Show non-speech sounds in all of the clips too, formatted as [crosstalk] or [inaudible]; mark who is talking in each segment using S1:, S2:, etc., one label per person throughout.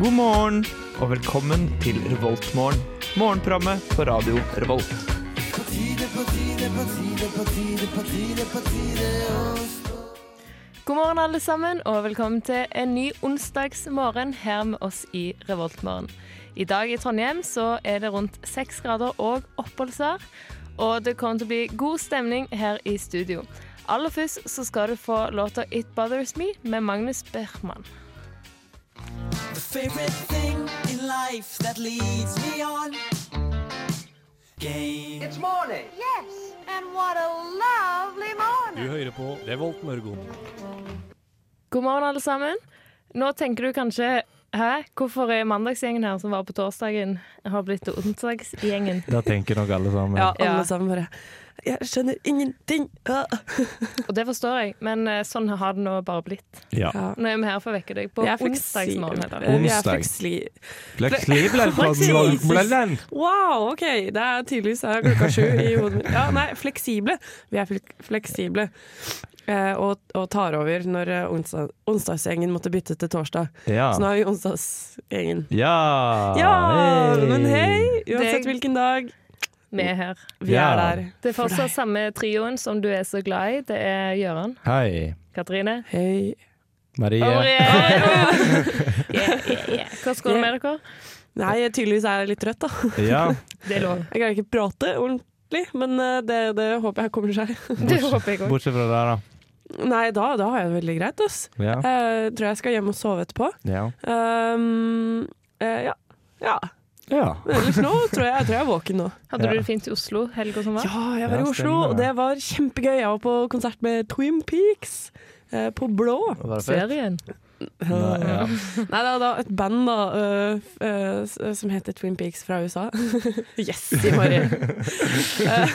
S1: God morgen og velkommen til Revoltmorgen. Morgenprogrammet på radio Revolt.
S2: God morgen, alle sammen, og velkommen til en ny onsdagsmorgen her med oss i Revoltmorgen. I dag i Trondheim så er det rundt seks grader og oppholdsvær, og det kommer til å bli god stemning her i studio. Aller først så skal du få låta It Bothers Me med Magnus Berman.
S3: The favorite thing in life that leads me on. Game.
S4: It's morning. Yes, and what a lovely morning.
S5: Du hører på Revolt Mørgon.
S2: God morgen, alle sammen. Nå tenker du kanskje Hæ? Hvorfor er mandagsgjengen her som var på torsdagen, har blitt onsdagsgjengen?
S5: Da tenker nok alle sammen.
S6: Ja, alle
S2: Ja.
S6: sammen bare Jeg skjønner ingenting! Ah.
S2: Og det forstår jeg, men eh, sånn har det nå bare blitt.
S5: Ja.
S6: Ja.
S2: Nå er vi her for å vekke deg på
S6: Jeg er
S2: onsdagsmorgen. i dag.
S6: fleksibel. Jeg er
S5: Onsdag.
S6: fleksli-
S5: Fleksibel.
S6: Wow, OK! Det er tydeligvis er klokka sju i hodet mitt. Ja, nei, fleksible. Vi er flek- fleksible. Eh, og, og tar over når eh, onsdag, onsdagsgjengen måtte bytte til torsdag.
S5: Ja.
S6: Så nå er vi onsdagsgjengen.
S5: Ja,
S6: Ja!
S5: hei.
S6: Men hei!
S2: Det-
S6: Uansett hvilken dag,
S2: Vi er her.
S6: vi
S5: Ja.
S6: er der.
S2: Det er fortsatt samme trioen som du er så glad i. Det er Gøran,
S5: Hei.
S2: Katrine
S6: Hei.
S5: Marie.
S2: [laughs]
S6: [laughs]
S2: og Marie. Yeah, yeah, yeah. Hvordan går det med dere?
S6: Nei, jeg tydeligvis er jeg litt trøtt, da. [laughs]
S5: Ja.
S2: Det er lov.
S6: Jeg greier ikke prate ordentlig, men eh, det, det håper jeg kommer seg.
S2: Det håper jeg òg.
S5: Bortsett fra der, da.
S6: Nei, da, da har jeg det veldig greit, ass.
S5: Ja.
S6: Jeg tror jeg skal hjem og sove etterpå.
S5: Ja.
S6: Ehm, eh, ja. ja.
S5: ja.
S6: Men ellers nå tror jeg, jeg tror jeg er våken nå.
S2: Hadde du
S5: Ja.
S2: det fint i Oslo helga som var?
S6: Ja, jeg var
S5: Ja,
S6: i Oslo,
S5: stemmer det.
S6: og det var kjempegøy. Jeg var på konsert med Twin Peaks eh, på Blå.
S2: Serien.
S5: Nei, ja.
S6: Nei, det var et band da eh, f- eh, s- eh, som heter Twin Peaks fra USA. [laughs] yes, sier Marie. Eh,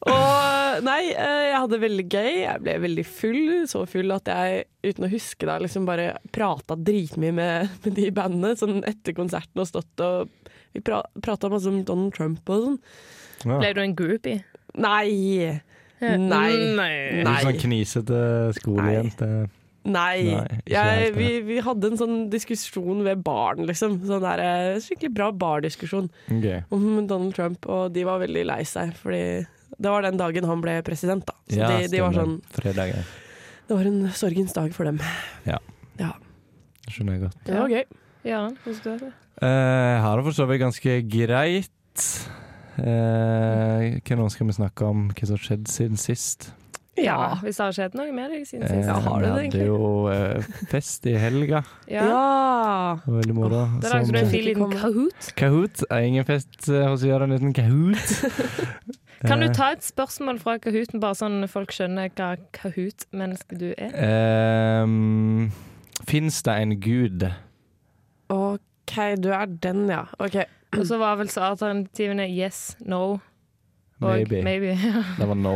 S6: og nei, eh, jeg hadde det veldig gøy. Jeg ble veldig full. Så full at jeg, uten å huske det, liksom bare prata dritmye med, med de i bandet. Sånn etter konserten og stått og Vi pra, prata masse om Donald Trump og sånn.
S2: Ble du en groupie?
S6: Nei! Nei.
S2: Nei.
S5: Litt sånn knisete skolejente.
S6: Nei.
S5: Nei, ikke
S6: jeg,
S5: helt,
S6: vi, vi hadde en sånn diskusjon ved baren, liksom. Sånn der, eh, skikkelig bra bardiskusjon.
S5: Gøy.
S6: om Donald Trump, og de var veldig lei seg. Fordi det var den dagen han ble president, da. Så
S5: Ja,
S6: de, de var sånn
S5: stemmer. Fredager.
S6: Det var en sorgens dag for dem.
S5: Ja.
S6: Ja.
S5: Skjønner jeg godt.
S6: Det var gøy.
S2: Gøran, hvordan går det?
S5: Eh, Jeg har det for så vidt ganske greit. Eh, hva nå skal vi snakke om? Hva som har skjedd siden sist?
S2: Ja, hvis det har skjedd noe med deg siden
S5: Eh,
S2: sist.
S6: Ja, har du det
S5: vi hadde
S6: egentlig?
S5: jo eh, fest i helga.
S6: Ja.
S2: Ja.
S5: Det var veldig moro.
S2: Da lagde du en fin liten
S6: Kommer.
S2: kahoot.
S5: Kahoot. Eh, Ingen fest eh, hos Gjøran uten Kahoot.
S2: Kan du ta et spørsmål fra kahooten, bare sånn folk skjønner hva kahoot-menneske du er?
S5: Eh, Fins det en gud?
S6: OK, du er den, ja. OK.
S2: Og så var vel så alternativene yes, no og
S5: Maybe.
S2: maybe. ja.
S5: Det var no.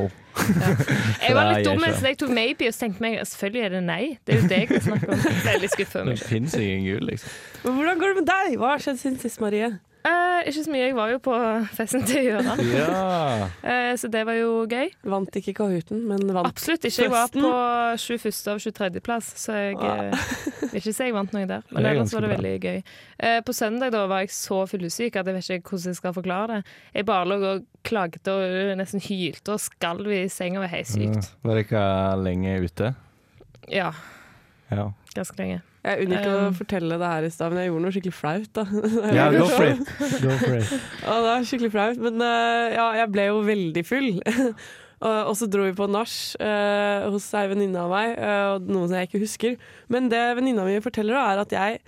S2: Jeg var litt
S5: Nei,
S2: dum,
S5: jeg
S2: så jeg tok maybe, og så tenkte jeg selvfølgelig er det nei. Det er jo det jeg vil snakke om. Veldig
S5: [laughs]
S2: skuffa meg. selv.
S5: fins ingen gud, liksom.
S6: Men hvordan går det med deg? Hva har skjedd siden sist, Marie?
S2: Eh, ikke så mye. Jeg var jo på festen til Gøran,
S5: Ja.
S2: eh, så det var jo gøy.
S6: Vant ikke Kahooten, men vant
S2: Absolutt ikke. Jeg var
S6: Festen?
S2: på 21. av 23. plass, så jeg eh, vil ikke si jeg vant noe der. Men
S5: Det er
S2: ellers var det
S5: ganske
S2: veldig gøy. Eh, på søndag da var jeg så fyllesyk at jeg vet ikke hvordan jeg skal forklare det. Jeg bare lå og klagde og eh, nesten hylte og skalv i senga. Det var helt sykt.
S5: Var det ikke lenge ute?
S2: Ja,
S5: Ja.
S2: ganske lenge.
S6: Jeg unngikk å
S2: Um.
S6: fortelle det her i stad, men jeg gjorde noe skikkelig flaut, da. [laughs]
S5: ja, go for it. Go for it.
S6: Ja, det er skikkelig flaut. Men eh, ja, jeg ble jo veldig full. [laughs] Og- og så dro vi på nach eh, hos ei venninne av meg, eh, og noe som jeg ikke husker. Men det venninna mi forteller, da, er at jeg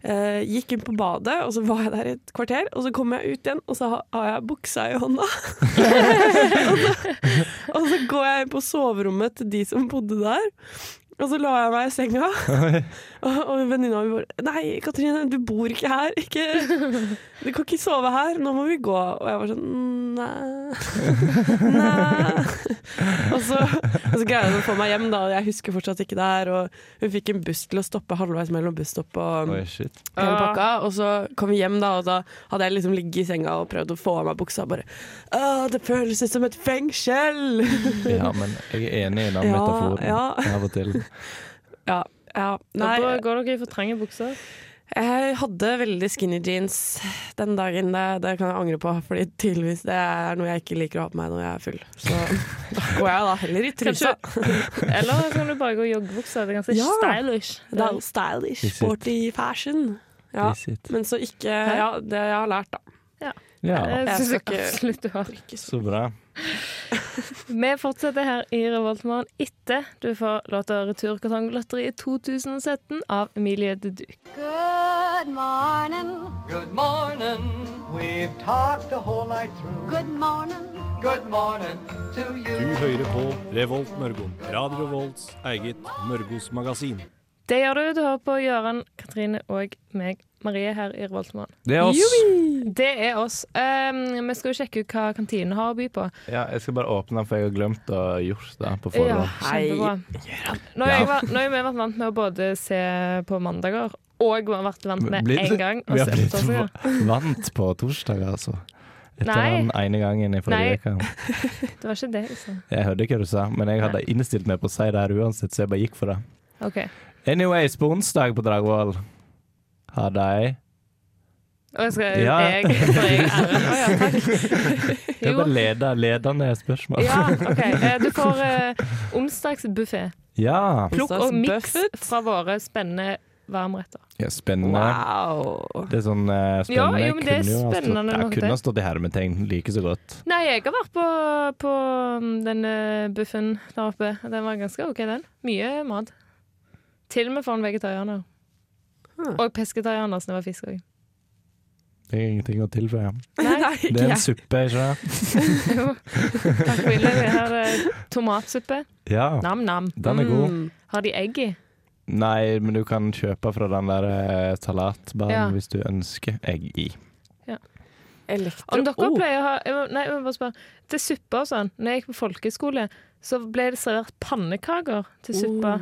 S6: eh, gikk inn på badet, og så var jeg der i et kvarter. Og så kom jeg ut igjen, og så ha- har jeg buksa i hånda. [laughs] og, så, og så går jeg inn på soverommet til de som bodde der. Og så la jeg meg i senga, [laughs] og, og venninna mi bare 'Nei, Katrine, du bor ikke her. Ikke, du kan ikke sove her, nå må vi gå. Og jeg var sånn Nei. Nei. [laughs] og, så, og så greide hun å få meg hjem, da, og jeg husker fortsatt ikke det her. Og hun fikk en buss til å stoppe halvveis mellom busstopp og
S5: Oi, shit.
S6: hele
S2: Ah.
S6: pakka. Og så kom vi hjem, da, og da hadde jeg liksom ligget i senga og prøvd å få av meg buksa. Og bare Å, det føles som et fengsel!
S5: Ja,
S2: [laughs]
S5: men jeg er enig i den
S6: Ja,
S5: metaforen
S6: ja.
S5: av og til.
S6: ja. ja.
S2: Nei,
S6: Nei.
S2: går dere i for trange bukser?
S6: Jeg hadde veldig skinny jeans den dagen. Det, det kan jeg angre på, Fordi tydeligvis det er noe jeg ikke liker å ha på meg når jeg er full. Så [laughs] da går jeg da heller i trusa.
S2: Eller kan du bare gå i joggebukser. Det er ganske
S6: Ja.
S2: stylish.
S6: Det er jo stylish,
S5: Is it?
S6: sporty fashion. Ja.
S5: Is it?
S6: Men så ikke Ja, det jeg har lært, da.
S5: Ja,
S2: Jeg syns
S6: Jeg skal ikke-
S2: absolutt du har
S5: så bra.
S2: Vi fortsetter her i Revoltmorgen etter du får låta 'Returkartonglotteriet 2017' av Emilie de Duc.
S4: Good morning.
S7: Good morning. We've talked the whole night through.
S4: Good morning.
S7: Good morning to you.
S8: Du hører på Revolt Mørgo. Radio Revolts eget Mørgos magasin.
S2: Det gjør du. Du hører på Gøran, Katrine og meg, Marie, her i Revoltmorgen.
S5: Det er oss.
S2: Det er oss. Um, vi skal jo sjekke ut hva kantinen har å by på.
S5: Ja, jeg skal bare åpne den, for jeg har glemt å ha gjort det på
S2: Ja,
S5: forhånd.
S2: kjempebra. Nå har
S5: Ja.
S2: jeg vært- nå har vi vært vant med å både se på mandager og vi har vært vant med
S5: Blitt-
S2: én gang. altså. å
S5: Vi
S2: se
S5: har
S2: på
S5: blitt
S2: torsdager.
S5: vant på torsdag, altså. Etter
S2: Nei.
S5: den ene gangen i
S2: Nei.
S5: forrige uke.
S2: Det var ikke det liksom. jeg sa.
S5: Jeg hørte hva du sa, men jeg hadde innstilt meg på å si det her uansett, så jeg bare gikk for det.
S2: OK.
S5: Anyways, på onsdag på Dragvoll har de
S2: Og jeg skal
S5: Ja.
S2: jeg, for jeg
S5: [laughs]
S2: er æren. Å ja, takk.
S5: Det er
S2: [laughs] Jo.
S5: bare leder, ledende spørsmål.
S2: Ja, OK. Eh, Du får eh, onsdagsbuffé.
S5: Ja.
S2: Plukk og miks
S6: Onsdagsbuffet.
S2: fra våre spennende varmretter.
S5: ja spennende.
S6: Wow.
S5: Det er sånn eh, spennende.
S2: Ja, jo, men det er
S5: Kunne jo ha stått-
S2: spennende
S5: ja,
S2: nok, det.
S5: kunne ha stått i hermetegn like så godt.
S2: Nei, jeg har vært på, på mm, denne buffen der oppe. Den var ganske OK, den. Mye mat. Til og med for en vegetarianer.
S6: Hmm.
S2: Og pesketarianer, så det var fisk òg.
S5: Det er ingenting å tilføye.
S6: [laughs] Nei,
S5: Det
S6: ikke
S5: er en
S6: jeg.
S5: suppe, ikke det?
S2: Takk for innlegget. Her er eh, tomatsuppe.
S5: Ja.
S2: Nam-nam.
S5: Den er god.
S6: Mm.
S2: Har de egg i?
S5: Nei, men du kan kjøpe fra den der eh, salatbaren
S2: Ja.
S5: hvis du ønsker egg i.
S6: Elektro...
S2: Om dere
S6: Oh.
S2: pleier å ha jeg må- Nei, jeg må bare spørre. Til suppe og sånn, når jeg gikk på folkeskole, så ble det servert pannekaker
S6: Oh.
S2: til suppa.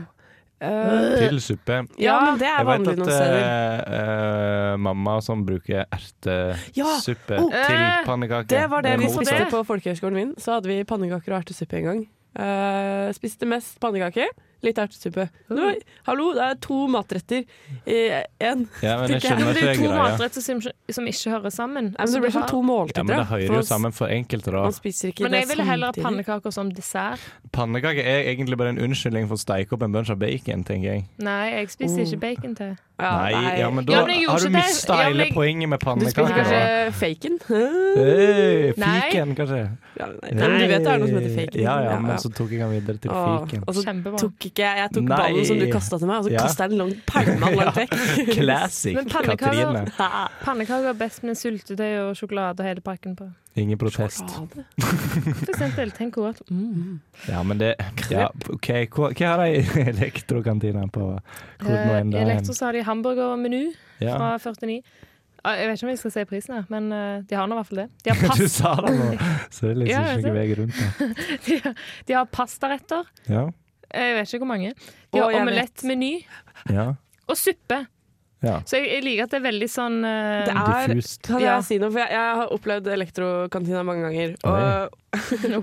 S6: Eh,
S2: Øh.
S5: Til suppe.
S6: ja, men det er
S5: Jeg vet
S6: vanlig
S5: at
S6: noen steder.
S5: eh, eh, mamma som bruker ertesuppe
S6: Ja. Oh.
S5: til
S2: Eh,
S5: pannekaker
S6: Det var det
S5: er
S6: vi
S5: en
S6: spiste
S5: hovedsak.
S6: på folkehøgskolen min. Så hadde vi pannekaker og ertesuppe en gang. Eh, spiste mest pannekaker, litt ertesuppe. Nå, hallo, det er to matretter i én.
S5: Ja, men jeg
S6: Ja,
S2: Ja,
S5: skjønner
S2: men det
S5: ikke
S2: er jo to
S5: greia.
S2: matretter som, som ikke hører sammen.
S6: Nei, men
S2: Altså,
S6: det blir
S2: du
S6: sånn som
S2: har-
S6: to
S5: Ja,
S6: måltider.
S5: men det
S6: da.
S5: hører jo
S6: For man-
S5: sammen for enkelte, da.
S6: Man spiser ikke
S2: Men
S6: det
S2: jeg ville heller ha
S6: samtidig.
S2: pannekaker som dessert.
S5: Pannekaker er egentlig bare en unnskyldning for å steike opp en bunch av bacon, tenker jeg.
S2: Nei, jeg spiser
S6: Oh.
S2: ikke bacon til.
S6: Ja,
S5: Nei, ja, men da
S2: Ja, men jeg gjorde
S5: har
S2: ikke
S5: du
S2: det.
S5: mista
S2: Ja, men
S5: hele
S2: jeg-
S5: poenget med
S6: Du spiser
S5: pannekaker, da.
S6: kanskje faken?
S5: Hey,
S2: Nei.
S5: fiken, kanskje.
S6: [laughs] Ja, nei, men du vet det er noe som heter faken.
S5: Ja, ja, men altså, så tok jeg den videre til
S6: Åh,
S5: fiken.
S6: Og så
S2: Kjempebra.
S6: tok ikke jeg Jeg tok
S5: Nei.
S6: ballen som du kasta til meg, og så
S5: Ja.
S6: kasta jeg den
S5: [laughs]
S6: langt pælma langt vekk. [laughs]
S5: Classic
S2: Men pannekaker-
S5: Katrine.
S2: Pannekaker er best med syltetøy og sjokolade og hele pakken på.
S5: Ingen protest.
S6: Fader.
S2: For eksempel, tenk hvor godt. Mm.
S5: Ja, men det ja, OK, hva, hva har de [laughs] i elektrokantina på hvor nå
S2: Eh,
S5: enn
S2: I
S5: det er hen?
S2: Elektro så har de hamburgermenu
S5: Ja. [laughs]
S2: fra 49. Ah, Jeg vet ikke om jeg skal si prisen, her, men eh, de har nå i hvert fall det. De
S6: [laughs]
S2: har,
S5: Du
S2: pas
S5: sa det nå, så det er
S2: Ja,
S5: liksom
S2: jeg
S5: ikke noen vei rundt det.
S2: de har, de har pastaretter.
S5: Ja,
S2: Jeg vet ikke hvor mange. De
S6: Å,
S2: har
S6: jeg
S2: omelettmeny
S5: ja,
S2: og suppe.
S5: ja.
S2: Så jeg, jeg liker at det er veldig sånn eh,
S6: Det er
S5: Diffust.
S6: Kan
S2: Ja.
S6: jeg si noe? For jeg, jeg har opplevd elektrokantina mange ganger.
S5: Oi.
S6: Og,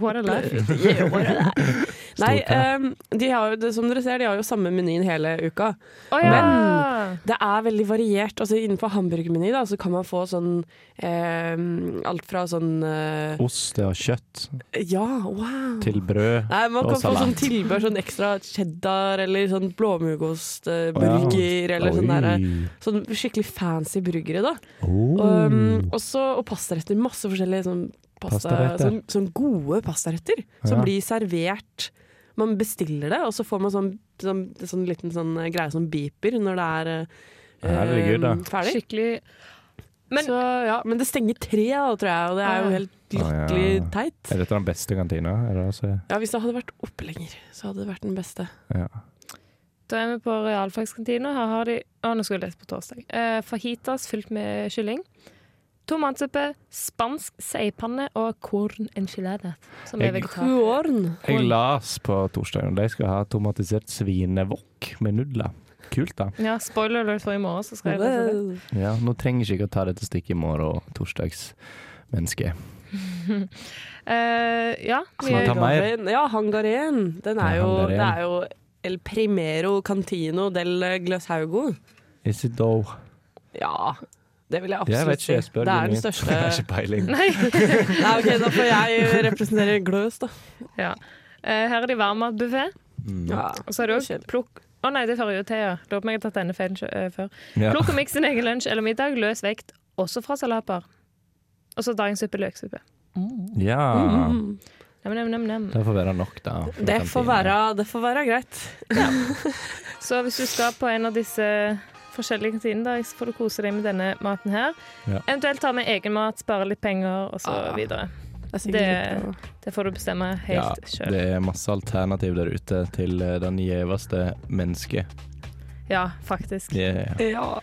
S2: What a life.
S6: Yeah, what are that? Nei,
S5: Stort, ja.
S6: ehm, de har jo, det- som dere ser, de har jo samme menyen hele uka.
S2: [laughs] Å ja!
S6: Det er veldig variert. Altså Innenfor hamburgermeny da, så kan man få sånn ehm, alt fra sånn eh,
S5: Ost og kjøtt
S6: Ja, wow!
S5: til brød
S6: Nei, Man
S5: og
S6: kan få
S5: salat.
S6: sånn tilbør, sånn ekstra cheddar eller sånn blåmuggost, eh,
S5: Å ja.
S6: burger eller sånn derre
S5: Oi.
S6: Sånn skikkelig fancy burgere, da.
S5: Oh.
S6: Um, også, og pastaretter. Masse forskjellige sånn, pasta,
S5: Pastaretter.
S6: sånn, sånn gode pastaretter som
S5: Ja.
S6: blir servert. Man bestiller det, og så får man sånn, sånn, sånn liten sånn eh, greie som beeper når det er eh,
S5: Herregud, da.
S6: eh, ferdig.
S2: Skikkelig Men-
S6: så, ja, men det stenger tre, da, tror jeg, og det er
S2: Ah,
S6: jo
S2: ja.
S6: helt
S5: Ah, ja.
S6: lykkelig teit.
S5: Er dette den beste kantina? Er det altså?
S6: Ja, Hvis det hadde vært oppe lenger, så hadde det vært den beste.
S5: ja.
S2: da er vi på realfagskantina. Her har de Å, nå skulle jeg lese på torsdag. Eh, fajitas fylt med kylling. Tomatsuppe, spansk seipanne og corn enchilada, som er
S5: Jeg-
S2: vegetar.
S6: Kuorn.
S5: Jeg las på torsdagen de skal ha tomatisert svinewok med nudler. Kult, da.
S2: Ja, spoiler alert for i morgen, så skal jeg lese det.
S6: Well.
S5: Ja, nå trenger ikke jeg å ta dette stikket i morgen og torsdagsmennesket.
S2: Eh, ja,
S5: Så man
S2: vi,
S5: tar mer.
S6: Hangaren. Ja, hangaren. Den
S5: Ja,
S6: er jo,
S5: hangaren.
S6: det er jo El Primero Cantino del Gløshaugo.
S5: Is it though?
S6: eh, Ja, det vil jeg absolutt
S5: Jeg vet ikke, jeg
S6: si.
S5: spør
S6: Det er den
S5: Gunhild.
S6: største
S5: Jeg har [laughs] ikke peiling.
S2: Nei.
S6: Nei, ok, da får
S5: [laughs]
S6: jeg representere gløs, da.
S2: Ja. Eh, Her er det varmmatbuffé.
S5: Mm.
S6: Ja.
S2: Og så har du også plukk... Å nei, det fører jo til, ja. Lurer på om jeg har tatt denne feilen sjø- eh, før.
S5: Ja.
S2: Plukk og miks din egen lunsj eller middag, løs vekt, også fra salatbar. Og så dagens suppe løksuppe.
S5: ja.
S2: Nem, nem, nem, nem.
S5: Det får være nok, da. for
S6: Mm-hmm. Det
S5: den
S6: får
S5: tiden.
S6: være, det får være greit.
S2: Så hvis du skal på en av disse forskjellige kantinene, da, så får du kose deg med denne maten her.
S5: Ja.
S2: Eventuelt ta med egen mat, spare litt penger, og så
S6: Ah.
S2: videre.
S6: Det er sikkert
S2: Det-
S6: litt å-
S2: Det får du bestemme
S5: Ja,
S2: helt selv sjøl.
S5: det er masse alternativ der ute til eh, den gjeveste mennesket.
S2: Ja, faktisk.
S5: Yeah.
S6: ja.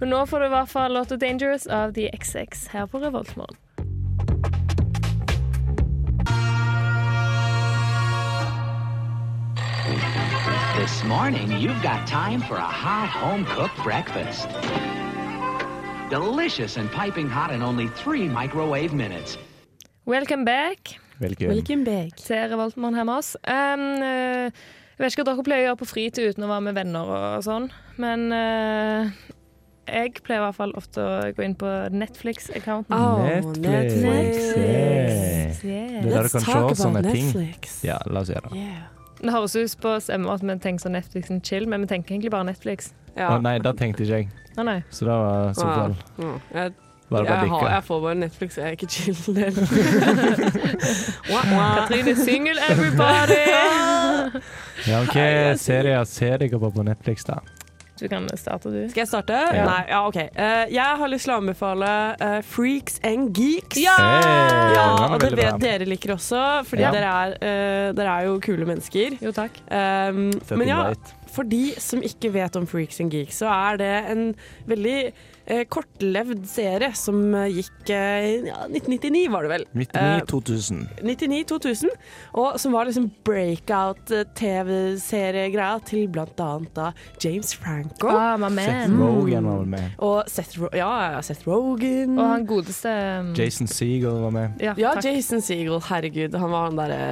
S2: Men nå får du i hvert fall låta 'Dangerous' av The XX her på Revoltmorgen.
S9: This morning, you've got time for a hot home cooked breakfast. Delicious and piping hot in only three microwave minutes.
S2: Welcome back
S5: Velkommen.
S2: til Revoltmorgen her med oss. Um, eh, jeg vet ikke hva dere pleier å gjøre på fritid uten å være med venner og sånn, men eh, jeg pleier i hvert fall ofte å gå inn på Netflix-accounten.
S6: Åh,
S5: Netflix.
S6: Netflix.
S5: Det er
S2: Yeah.
S5: der du
S6: Let's
S5: kan se
S6: talk
S5: sånne
S6: about
S5: ting.
S6: Netflix.
S5: Ja, la oss gjøre det.
S6: Yeah.
S2: Det høres ut på stemmen at vi tenker sånn Netflix and chill, men vi tenker egentlig bare Netflix.
S6: Ja.
S5: Å, nei, det tenkte ikke jeg.
S2: Nei, nei.
S5: Så det var sofaen.
S6: Mm. Jeg,
S5: Bare
S6: jeg, har,
S5: bare
S6: jeg får bare Netflix, jeg er ikke chill. del.
S5: [laughs]
S6: Wah, wah.
S2: Katrine, single [laughs] everybody!
S5: dikka. Ja, OK, serier ser dere på på Netflix, da?
S2: Du kan starte, du.
S6: Skal jeg starte?
S5: Ja.
S6: Nei, ja, OK. Eh, jeg har lyst til å anbefale eh, Freaks and Geeks.
S5: Hey,
S6: Ja,
S5: den var
S6: og det
S5: veldig
S6: vet
S5: bra.
S6: dere liker også, fordi
S5: Ja.
S6: dere, er, eh, dere er jo kule mennesker.
S2: Jo, takk.
S6: Um,
S5: Fucking
S6: men ja,
S5: right.
S6: for de som ikke vet om Freaks and Geeks, så er det en veldig eh, kortlevd serie som eh, gikk eh, ja, 1999, var det vel? eh,
S5: 99 2000.
S6: 99-2000, og som var liksom breakout-TV-seriegreia til blant annet da James Franco.
S2: Ah, my
S5: Seth
S6: mm.
S2: man.
S5: Rogen var vel med.
S6: Og Seth, Ro ja, ja, Seth Rogen.
S2: Og han godeste um,
S5: Jason Seagull var med.
S2: Ja,
S6: ja,
S2: takk.
S6: Jason Segel, herregud. Han var han derre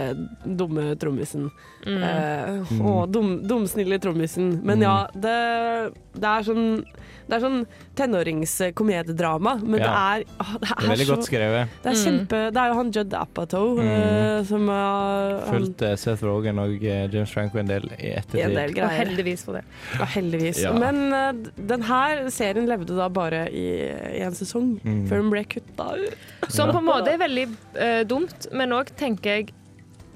S6: dumme trommisen.
S2: Mm.
S6: Eh, å,
S5: Mm.
S6: dum, dumsnille trommisen. Men ja, det, det er sånn Det er sånn tenåringskomediedrama, men
S5: Ja.
S6: det er, å, det
S5: Det er
S6: er,
S5: veldig
S6: så
S5: godt skrevet.
S6: Det er
S2: Mm.
S6: kjempe Det er jo han Judd Apatow eh, som har han-
S5: Mm. Fulgt eh, Seth Rogen og eh, James Franco en del i
S6: en del
S5: ettertid.
S2: Og
S6: greier.
S2: heldigvis for det.
S6: Ja, heldigvis.
S5: Ja.
S6: Men eh, den her serien levde da bare i, i en sesong,
S5: Mm.
S6: før den ble kutta ut.
S2: Som på en måte er veldig eh, dumt, men òg tenker jeg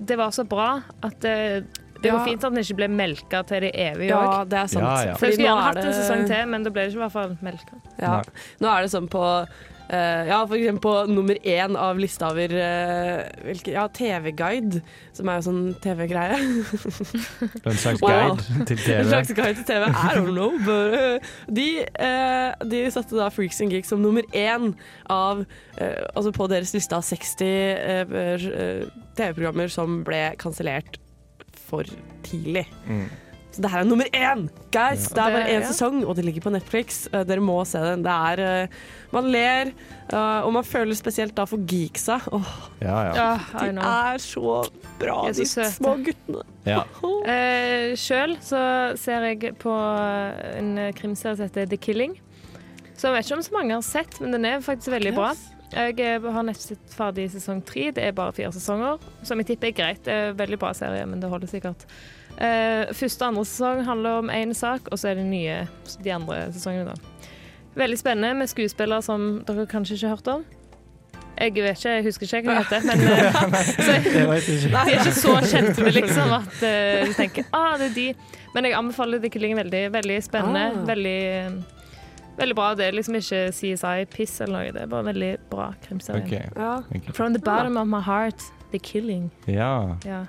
S2: det var så bra at eh, det
S6: Ja.
S2: går fint at den ikke ble melka til det evige òg.
S6: Ja, det er sant.
S5: Ja, ja.
S2: For jeg skulle
S6: nå
S2: gjerne
S6: er
S2: hatt en sesong til, men det ble ikke i hvert fall melka.
S6: Ja.
S5: Nei.
S6: Nå er det sånn på eh, ja, for eksempel på nummer én av lista over eh, hvilke- ja, TV-guide, som er jo sånn TV-greie.
S5: En slags
S6: Wow. [laughs]
S5: guide til
S6: En
S5: TV.
S6: slags guide til TV. I don't know. But, eh, de, eh, de satte da Freaks and Geeks som nummer én av eh, Altså på deres liste av 60 eh, eh, TV-programmer som ble kansellert for tidlig.
S5: Mm.
S6: Så det her er nummer én! Guys, det
S2: Ja.
S6: er bare
S2: Det-
S6: én
S2: ja.
S6: sesong, og det ligger på Netflix. Eh, dere må se den. Det er eh, Man ler, eh, og man føler spesielt da for geeksa. Åh,
S5: Ja, ja.
S2: I
S6: de
S2: know.
S6: er så bra,
S2: De er så
S6: de
S2: søte.
S6: små guttene.
S5: ja.
S2: Eh, Sjøl så ser jeg på en krimserie som heter The Killing. Som jeg vet ikke om så mange har sett, men den er faktisk veldig bra. Jeg eh, har nettopp sett ferdig sesong tre. Det er bare fire sesonger, som jeg tipper er greit. Det er en veldig bra serie, men det holder sikkert. Eh, første og andre sesong handler om én sak, og så er det nye de andre sesongene, da. Veldig spennende med skuespillere som dere kanskje ikke har hørt om. Jeg vet ikke, jeg husker ikke hva de heter, men eh,
S5: Jeg vet ikke.
S2: de er ikke [laughs] så kjente liksom, at eh, du tenker ah, det er de. Men jeg anbefaler The Killing veldig. Veldig spennende.
S6: Ah.
S2: Veldig, veldig bra. Det er liksom ikke CSI-piss eller noe. Det er bare veldig bra
S5: [laughs]
S2: krimserie.
S5: Ok,
S6: Ja.
S5: ok.
S2: From the bottom of my heart, The Killing.
S5: Ja.
S2: Ja.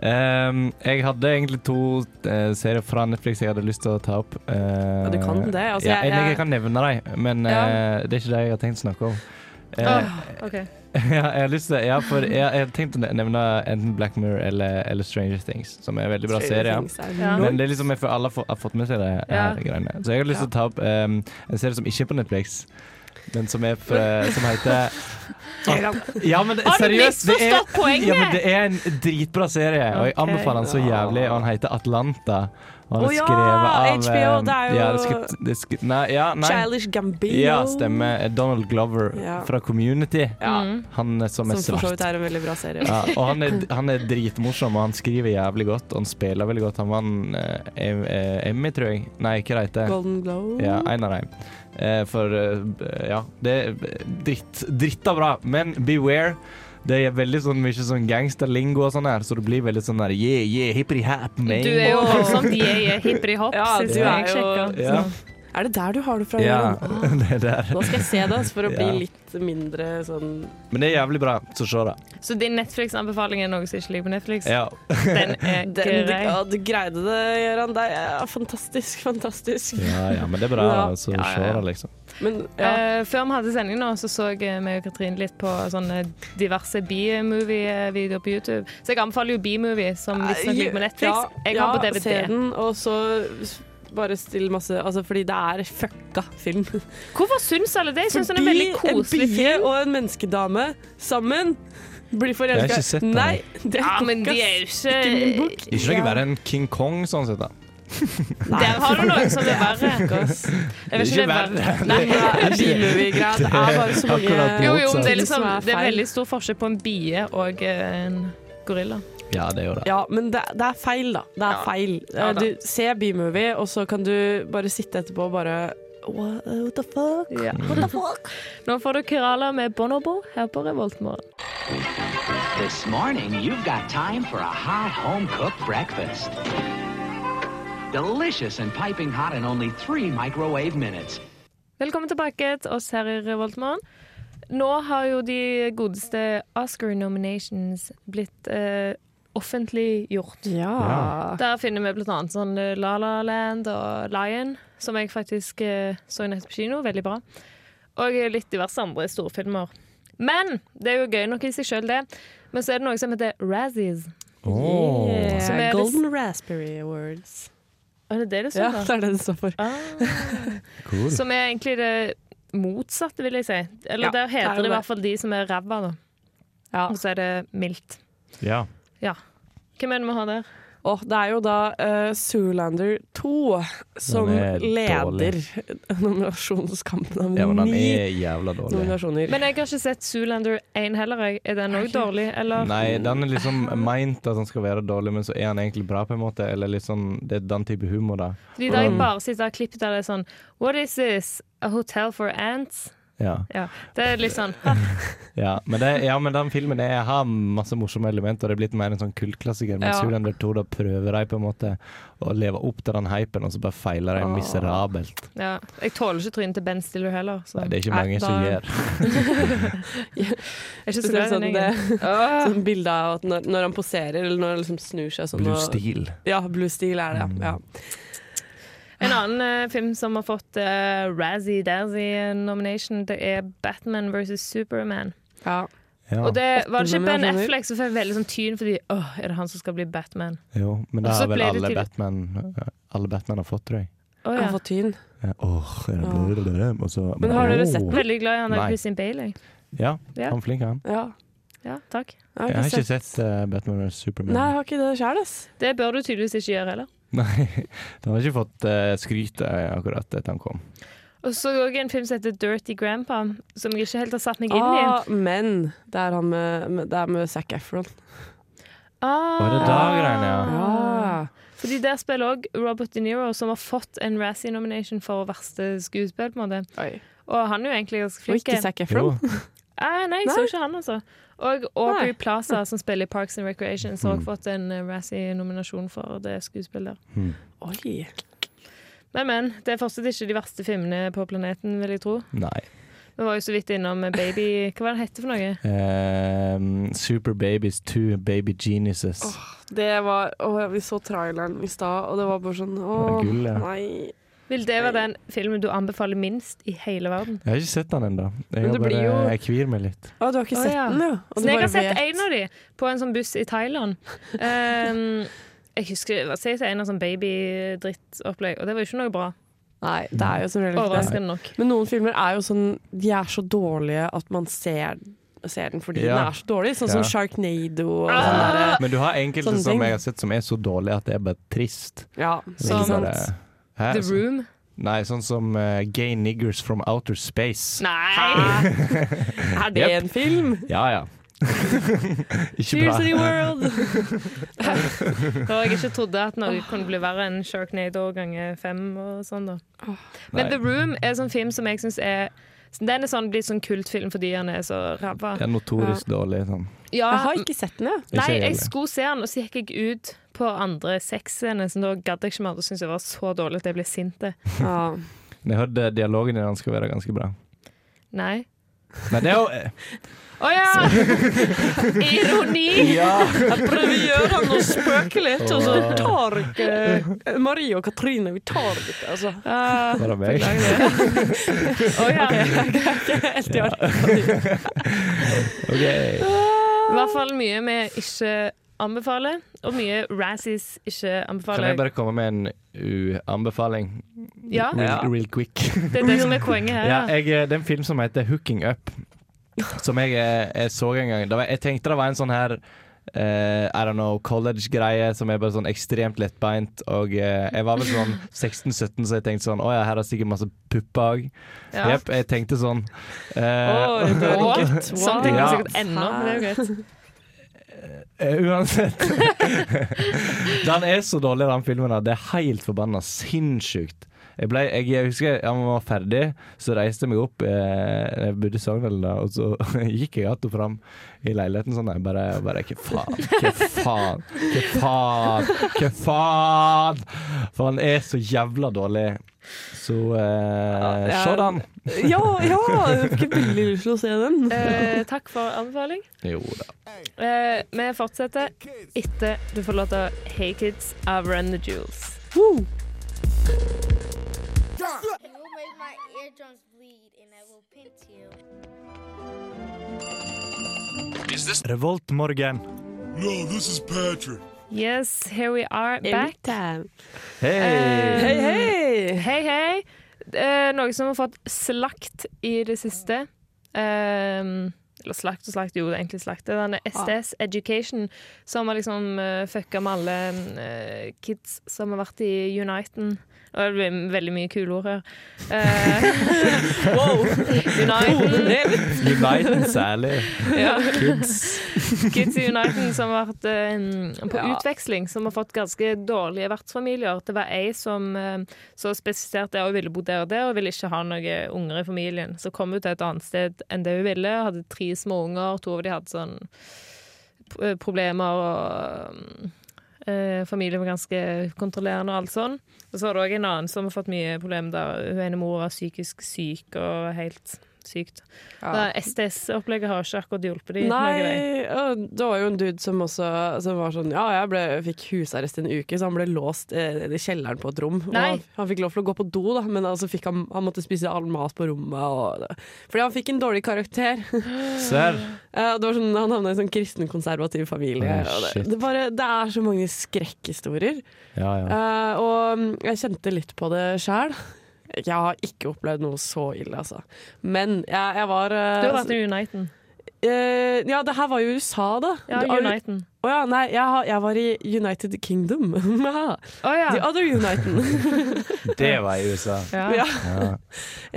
S5: Ehm, jeg hadde egentlig to eh, serier fra Netflix jeg hadde lyst til å ta opp. Eh,
S6: Ja, du kan det, altså,
S5: ja,
S6: jeg-
S5: jeg, jeg kan nevne dem, men
S6: Ja.
S5: eh, det er ikke det jeg har tenkt å snakke om. Eh,
S2: Åh, OK.
S5: [laughs] ja, jeg har lyst til, ja, for jeg, jeg har tenkt å nevne enten Black Mirror eller, eller Stranger Things, som er en veldig bra serie.
S2: Ja.
S5: Men det er liksom, jeg føler alle har fått- har fått med seg det
S2: Ja.
S5: her greiene. Så jeg har lyst til å ta opp ehm, en serie som ikke er på Netflix, men som, er fra, som
S2: [laughs]
S5: heter Ja, men det-
S2: Har du
S5: seriøst, det er [laughs]
S2: misforstått poenget?
S5: Ja, men det er en dritbra serie, og jeg
S2: Ok.
S5: anbefaler den så jævlig. Og han heter Atlanta. Og det
S6: Å
S5: er
S6: ja,
S5: skrevet av
S6: HBO,
S5: eh,
S6: det er jo-
S5: ja, det er skrevet- det er skrevet- Nei, ja, nei.
S6: Childish Gambino.
S5: Ja, stemmer. Eh, Donald Glover
S6: Ja.
S5: fra Community.
S6: Ja.
S2: Mm.
S5: Han er som er
S6: Som for så
S5: svart.
S6: vidt er en veldig bra serie.
S5: Ja, og han er, han er dritmorsom, og han skriver jævlig godt, og han spiller veldig godt. Han vant eh, em- eh, Emmy, tror jeg. Nei, hva det heter det?
S6: Golden Glow.
S5: Ja,
S2: Mm.
S5: en av dem. Eh, for eh, ja, det er dritt, dritta bra, men beware. Det er veldig sånn mye sånn gangsterlingo og sånn her, så det blir veldig sånn der yeah, yeah, hippity hap, man.
S2: Du er jo
S6: Åh.
S2: voldsomt yeah, yeah, hippity hopp,
S6: Ja,
S2: sist
S6: du er
S2: jeg
S6: jo-
S2: sjekket.
S5: Ja.
S6: Er det der du har det fra?
S5: ja, [laughs]
S6: Jørgen?
S5: det er der.
S6: Ah. Nå skal jeg se det, altså, for å bli
S5: Ja.
S6: litt mindre sånn
S5: Men det er jævlig bra, så se det.
S2: Så din Netflix-anbefaling er noe som ikke ligger på Netflix?
S5: Ja.
S2: Den er
S6: Den, du,
S2: grei.
S6: ja, du greide det, Gøran. Det er fantastisk, fantastisk.
S5: ja, ja, men det er bra,
S6: Ja.
S5: så
S2: Ja, ja,
S5: se
S2: ja.
S5: det, liksom.
S6: Men ja.
S2: Eh, før vi hadde sending nå, så så jeg eh, meg og Katrin litt på sånne diverse B-movie-videoer på YouTube. Så jeg anbefaler jo B-movie, som visstnok ligger på Netflix. Jeg har på
S6: Eh, ja, se
S2: DVD.
S6: den, og så s- bare still masse Altså, fordi det er fucka film. Fordi
S2: Hvorfor syns alle det? Jeg syns den er en veldig koselig
S6: en bie
S2: film.
S6: og en menneskedame sammen blir
S5: Jeg har
S6: forelska.
S5: ikke sett den.
S6: Nei, det er
S2: Ja, men
S6: kokkas.
S2: de er jo
S6: Ikke min bok.
S2: ikke
S5: Ikke noe verre enn King Kong, sånn sett. da.
S2: Der har du noe som er verre. Jeg vet
S5: Det er
S2: ikke, det er
S5: ikke
S2: verre. Nei.
S6: Nei, det er B-movie-greia. Det er bare så
S5: Akkurat
S6: mange
S2: Jo, jo, men det er,
S6: Ting
S2: liksom,
S6: som er
S2: det er
S6: feil.
S2: veldig stor forskjell på en bie og en gorilla.
S5: Ja, det er jo det.
S6: Ja, men det, det er feil, da. Det er
S2: Ja.
S6: feil. Eh,
S2: Ja, da.
S6: du, se B-movie, og så kan du bare sitte etterpå og bare What, what the fuck? What the fuck?
S2: Nå får du Kerala med Bonobo her på Revoltmorgen.
S9: This morning, you've got time for a hot home cooked breakfast. Delicious and piping hot in only three microwave minutes.
S2: Velkommen tilbake til oss her i Revoltmorgen. Nå har jo de godeste Oscar nominations blitt eh, offentliggjort.
S6: Ja.
S2: Der finner vi blant annet sånn eh, La La Land og Lion, som jeg faktisk eh, så nettopp på kino. Veldig bra. Og litt diverse andre storfilmer. Men det er jo gøy nok i seg sjøl, det. Men så er det noe som heter Razzies.
S6: Yeah.
S2: Som er
S6: Golden Raspberry Awards.
S2: Er det det det
S6: Ja,
S2: står
S6: det er det det står for.
S5: Cool.
S2: Som er egentlig det motsatte, vil jeg si. Eller
S6: Ja,
S2: der
S6: det er
S2: heter
S6: jo
S2: det i
S6: det.
S2: hvert fall de som er ræva, da.
S6: Ja.
S2: Og så er det mildt.
S5: Ja.
S2: Ja. Hvem er det vi har der?
S6: Og det er jo da uh, Zoolander 2 som
S5: Den er
S6: leder [laughs] nominasjonskampen av
S5: ja, men den
S6: ni
S5: er jævla dårlig.
S6: nominasjoner.
S2: Men jeg har ikke sett Zoolander 1 heller. jeg. Er den òg dårlig, eller?
S5: Nei, den er liksom meint at han skal være dårlig, men så er han egentlig bra, på en måte. Eller litt sånn, Det er den type humor, da.
S2: De der
S5: Mm.
S2: jeg bare sitter og klipper der det er sånn What is this? A hotel for ants?
S5: Ja,
S2: Ja. Det er litt sånn ha.
S5: ja. Men, det, ja men den filmen er, har masse morsomme elementer, og det er blitt mer en sånn kultklassiker. Men
S6: Ja.
S5: Zoolander 2, da prøver de på en måte å leve opp til den hypen, og så bare feiler de miserabelt.
S2: ja. Jeg tåler ikke trynet til Ben Stiller heller. Så.
S5: Nei, det er ikke
S6: Nei,
S5: mange som
S6: da-
S5: gjør.
S2: Jeg er ikke så
S6: Spesielt
S2: glad i
S6: sånn
S2: den
S6: det
S2: gjengen.
S6: sånn bilde av at når, når han poserer, eller når han liksom snur seg sånn
S5: Blue
S6: og-
S5: Steel. Mm.
S6: Ja, Blue Steel er det, ja. ja.
S2: En annen eh, film som har fått uh, Razzie Dazzie nomination, det er Batman versus Superman.
S6: ja.
S5: Ja.
S2: Og det var det ikke
S6: Åttende
S2: Ben
S6: nominasjoner.
S2: Affleck som fikk veldig sånn tyn fordi Åh, er det han som skal bli Batman?
S5: jo, men det
S2: Og så
S5: har vel
S2: ble det
S5: alle
S2: til-
S5: Batman eh, Alle Batman har fått, tror jeg.
S2: Å,
S6: Han
S2: ja.
S6: har fått tyn.
S5: Ja, Åh, er det blø, blø, blø, og så-
S6: Men har dere sett
S5: Åh.
S2: Veldig glad i han der
S5: Nei.
S2: Christian Bale, jeg.
S5: Ja,
S2: Ja.
S5: han er flink, han.
S6: Ja.
S2: Ja, takk.
S6: Jeg
S5: Jeg har ikke sett eh, Batman vs Superman.
S6: Nei, jeg har ikke det sjøl, ass.
S2: Det bør du tydeligvis ikke gjøre heller.
S5: [laughs] Nei, den har ikke fått eh, skryt eh, akkurat etter han kom.
S2: Og så òg en film som heter Dirty Grandpa, som jeg ikke helt har satt meg inn i.
S6: Ah, men det er, han med, med- det er med Zac Efron.
S2: Ah,
S5: Var det da greiene, ja?
S6: Ja.
S2: Fordi der spiller òg Robert De Niro, som har fått en Razzie nomination for verste skuespill, på en måte.
S6: Oi.
S2: Og han er jo egentlig ganske
S6: Og
S2: flink.
S6: ikke Zac Efron.
S2: Eh, nei, jeg så
S6: Nei.
S2: ikke han, altså. Og Aubrey
S6: Nei.
S2: Plaza, som spiller i Parks and Recreation,
S5: Mm.
S2: har også fått en eh, Razzie-nominasjon for det skuespillet.
S6: Oi.
S2: Men, men. Det er fortsatt ikke de verste filmene på planeten, vil jeg tro.
S5: Nei.
S2: Vi var jo så vidt innom eh, Baby Hva var det hette for noe?
S5: Ehm, Super Babies 2, Baby Geniuses.
S6: Det var å, Vi så traileren i stad, og det var bare sånn Å,
S5: Det var gull, ja.
S6: nei.
S2: Vil det være den filmen du anbefaler minst i hele verden?
S5: Jeg har ikke sett den ennå. Jeg,
S6: Men
S5: har
S6: det blir
S5: bare-
S6: jo-
S5: jeg kvir meg litt.
S6: Å, du har ikke
S2: Å,
S6: sett
S2: ja.
S6: den, ja? Og
S2: Så Altså,
S6: du
S2: jeg
S6: bare
S2: har sett
S6: vet.
S2: en av de på en sånn buss i
S6: [laughs]
S2: Thailand. Ehm, jeg husker hva sier jeg, en av sånn baby-drittopplegg, og det var jo ikke noe bra.
S6: Nei, det er jo som regel ikke det.
S2: Overraskende nok.
S6: Men noen filmer er jo sånn De er så dårlige at man ser serien fordi
S5: Ja.
S6: den er så dårlig. Sånn som
S5: Ja.
S6: Sharknado og sånn derre.
S5: [laughs] Men du har enkelte
S6: Sånne ting.
S5: som jeg har sett som er så dårlige at det er bare trist.
S6: Ja,
S5: Ikke
S2: Som-
S6: sånn.
S5: bare, hæ?
S2: The Room.
S5: Nei, sånn som eh, Gay Niggers from Outer Space.
S2: Nei!
S6: Er det
S5: Jep.
S6: en film?
S5: Ja, ja. Ikke bra.
S6: Cheers to
S5: [laughs]
S6: the world!
S2: [laughs] Da jeg ikke trodde at noe kunne bli verre enn Sharknado ganger fem og sånn, da. Men
S5: Nei.
S2: The Room er en sånn film som jeg syns er Den er sånn, blitt sånn kultfilm fordi han er så ræva.
S5: Ja, notorisk dårlig. Sånn.
S2: Ja,
S6: Jeg har ikke sett den, jeg.
S5: Ikke
S2: Nei, jeg
S5: heller.
S2: skulle se den, og så gikk jeg ut på andre sexscene, så da gadd jeg ikke mer. Da syntes jeg det var så dårlig at jeg ble sint.
S6: Ja.
S5: Men jeg hørte dialogen i den skal være ganske bra.
S2: Nei.
S5: Nei, det er jo eh,
S2: Å
S5: [laughs]
S2: ja! Ironi!
S6: Jeg prøver å gjøre noe spøkelig, og så tar ikke eh, Marie og Katrine Vi tar det ikke, altså.
S2: Ah,
S5: bare meg.
S2: [laughs] Å ja.
S6: Helt i orden.
S5: Ok.
S2: I hvert fall mye vi ikke anbefaler, og mye Razzies ikke
S5: Kan jeg
S2: anbefaler.
S5: bare komme med en u-anbefaling?
S2: Ja,
S5: Real, real quick.
S2: Det er det som er poenget her.
S5: Ja,
S2: ja.
S5: jeg, eh, det er en film som heter 'Hooking Up', som jeg, eh, jeg så en gang. Det var- Jeg tenkte det var en sånn her eh, I don't know, college-greie som er bare sånn ekstremt lettbeint. Og eh, jeg var vel sånn 16-17, så jeg tenkte sånn Å ja, her er sikkert masse pupper òg.
S2: Ja.
S5: Jepp, jeg tenkte sånn. Eh,
S6: Oi, det er
S5: [laughs]
S2: What?
S6: gutt.
S2: Sånn tenker
S5: Ja.
S2: jeg sikkert ennå. men Det er jo greit.
S5: Eh, uansett. [laughs] den er så dårlig, den filmen. her. Det er helt forbanna sinnssykt. Jeg, ble, jeg, jeg husker jeg var ferdig, så reiste jeg meg opp. Eh, jeg bodde i Sogndal da, og så [laughs] gikk jeg att og fram i leiligheten sånn. Jeg bare, bare Hva faen? Hva faen? Hva faen? Hva faen? For han er så jævla dårlig. Så eh,
S6: Ja,
S5: se den.
S6: Ja, ja! Jeg har ikke veldig lyst til å se den.
S2: Eh, takk for anbefaling.
S5: Jo da.
S2: Eh, vi fortsetter etter du får låta Hey Kids av Run the Jewels.
S6: Woo!
S4: You will make my eardrums bleed, and I will pinch you.
S5: Revoltmorgen.
S2: Yes, here we are back.
S5: Hei!
S6: Hei, hei!
S2: Hei, hei. Eh, noe som har fått slakt i det siste. Ehm, eller slakt og slakt, jo, det er egentlig slakt. Det er denne SDS Education som har liksom uh, fucka med alle eh, kids som har vært i Uniten. Og det blir veldig mye kule ord her. Eh, [laughs] Uniten,
S5: Uniten særlig.
S2: ja.
S5: Kids.
S2: Kids i Uniten som har vært eh, på
S6: Ja.
S2: utveksling, som har fått ganske dårlige vertsfamilier. Det var ei som eh, så spesifiserte at hun ville bo der og der, og ville ikke ha noen unger i familien. Så kom hun til et annet sted enn det hun ville, og hadde tre små unger. To av de hadde sånn eh, problemer og eh, Familien var ganske kontrollerende og alt sånn. Og så var det òg en annen som har fått mye problemer der hun ene mor var psykisk syk og helt sykt.
S6: Ja.
S2: STS-opplegget har ikke akkurat hjulpet dem.
S6: Nei, og det var jo en dude som også som var sånn Ja, jeg ble, fikk husarrest i en uke, så han ble låst eh, i kjelleren på et rom. Og
S2: Nei.
S6: han, han fikk lov til å gå på do, da, men altså fikk han, han måtte spise all mat på rommet. Og, fordi han fikk en dårlig karakter. [laughs]
S5: Serr.
S6: Eh, og det var sånn, han havna i en sånn kristenkonservativ familie.
S5: Oh,
S6: og det,
S5: shit.
S6: det, bare, det er så mange skrekkhistorier.
S5: Ja, ja.
S6: Eh, og mm, jeg kjente litt på det sjæl. Jeg har ikke opplevd noe så ille, altså. Men jeg, jeg var eh,
S2: Du har vært i Uniten.
S6: Eh, ja, det her var jo USA, da.
S2: Ja,
S6: Det-
S2: Uniten.
S6: Å ja, nei, jeg, har- jeg var i United Kingdom. [laughs] Haha.
S2: Å ja.
S6: The other United.
S5: Det var i USA.
S2: ja.
S6: ja.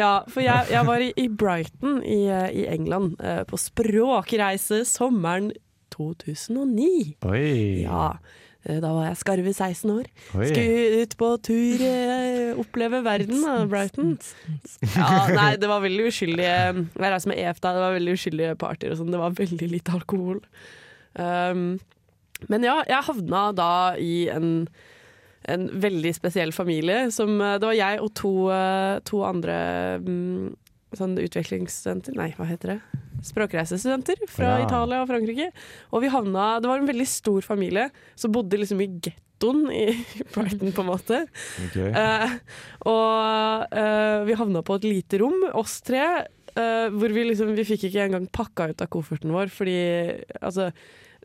S6: ja, for jeg, jeg var i, i Brighton i, eh, i England eh, på språkreise sommeren 2009.
S5: Oi.
S6: Ja, eh, da var jeg skarve 16 år.
S5: Oi.
S6: Skulle ut på tur, eh, oppleve verden, da, Brighton. Ja, nei, det var veldig uskyldige Jeg reiste med EF da, det var veldig uskyldige partyer og sånn. Det var veldig lite alkohol. Um, men ja, jeg havna da i en en veldig spesiell familie. Som, eh, det var jeg og to, eh, to andre mm, sånn utvekslingsstudenter Nei, hva heter det? Språkreisestudenter fra
S5: Ja.
S6: Italia og Frankrike. Og vi havna Det var en veldig stor familie som bodde liksom i gettoen i [laughs] Brighton, på en måte. Eh, og eh, vi havna på et lite rom, oss tre. eh, hvor vi liksom Vi fikk ikke engang pakka ut av kofferten vår, fordi altså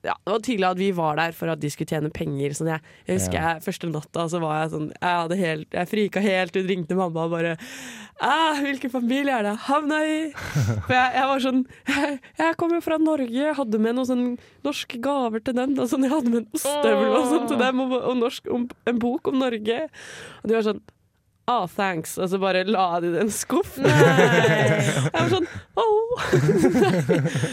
S6: ja, det var tydelig at vi var der for at de skulle tjene penger. Sånn jeg, jeg husker jeg, første natta så var jeg sånn Jeg, hadde helt, jeg frika helt ut, ringte mamma og bare «Ah, 'Hvilken familie er det jeg havna i?' For jeg, jeg var sånn Jeg, jeg kommer fra Norge, jeg hadde med noen sånn norske gaver til dem. Og sånn, jeg hadde med en ostehøvel og sånn til dem, og, og norsk, om, en bok om Norge. Og de var sånn Ah, thanks. Og så bare la de det i en skuff.
S2: Nei.
S6: [laughs] Jeg var sånn Åh
S2: [laughs]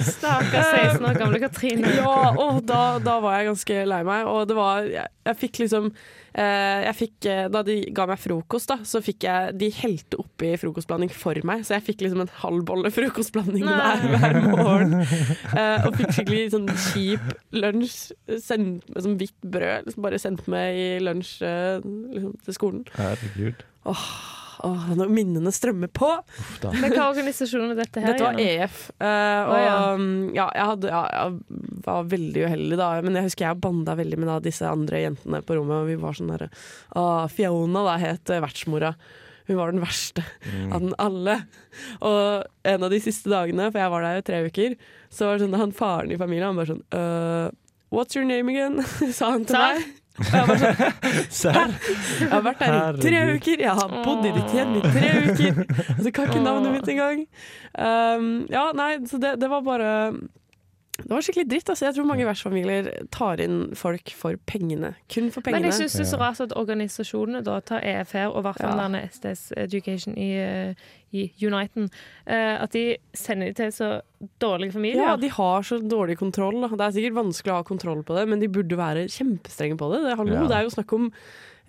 S2: Stakkars 16 år gamle Katrine.
S6: Ja, og da, da var jeg ganske lei meg. Og det var Jeg, jeg fikk liksom eh, jeg fikk, eh, Da de ga meg frokost, da, så fikk jeg De helte oppi frokostblanding for meg, så jeg fikk liksom en halv bolle frokostblanding
S2: Nei.
S6: hver, hver morgen. Eh, og fikk skikkelig sånn kjip lunsj. Sendt med sånn hvitt brød, liksom bare sendt med i lunsj eh, liksom, til skolen.
S5: Herregud.
S6: Åh, når minnene strømmer på!
S2: Men hva organisasjon er dette her?
S6: Dette var
S2: igjennom?
S6: EF. eh, og
S2: Å, ja.
S6: um, ja, jeg, hadde, ja, jeg var veldig uheldig da, men jeg husker jeg banda veldig med da, disse andre jentene på rommet. Og vi var sånn derre ah, Fiona da het eh, vertsmora. Hun var den verste
S5: Mm.
S6: av den alle. Og en av de siste dagene, for jeg var der i tre uker, så var det sånn han faren i familien han bare sånn «Øh, What's your name again? [laughs] sa han til
S2: Sa han?
S6: meg. Og jeg var sånn,
S5: [laughs] Serr?
S6: jeg har vært der i tre
S5: Herregud.
S6: uker, jeg har bodd i ditt hjem i tre uker. Og så kan ikke navnet mitt engang. Um, ja, nei, så det, det var bare Det var skikkelig dritt. Altså. Jeg tror mange vertsfamilier tar inn folk for pengene. Kun
S2: Men
S6: for
S2: liksom,
S6: pengene.
S2: jeg syns det er så rart at organisasjonene da tar EF her, og i hvert fall
S6: Ja.
S2: denne SDS Education i, eh, i Uniten, eh, at de sender de til så dårlige familier.
S6: ja, de har så dårlig kontroll. da. Det er sikkert vanskelig å ha kontroll på det, men de burde være kjempestrenge på det. det hallo,
S5: Ja.
S6: det er jo snakk om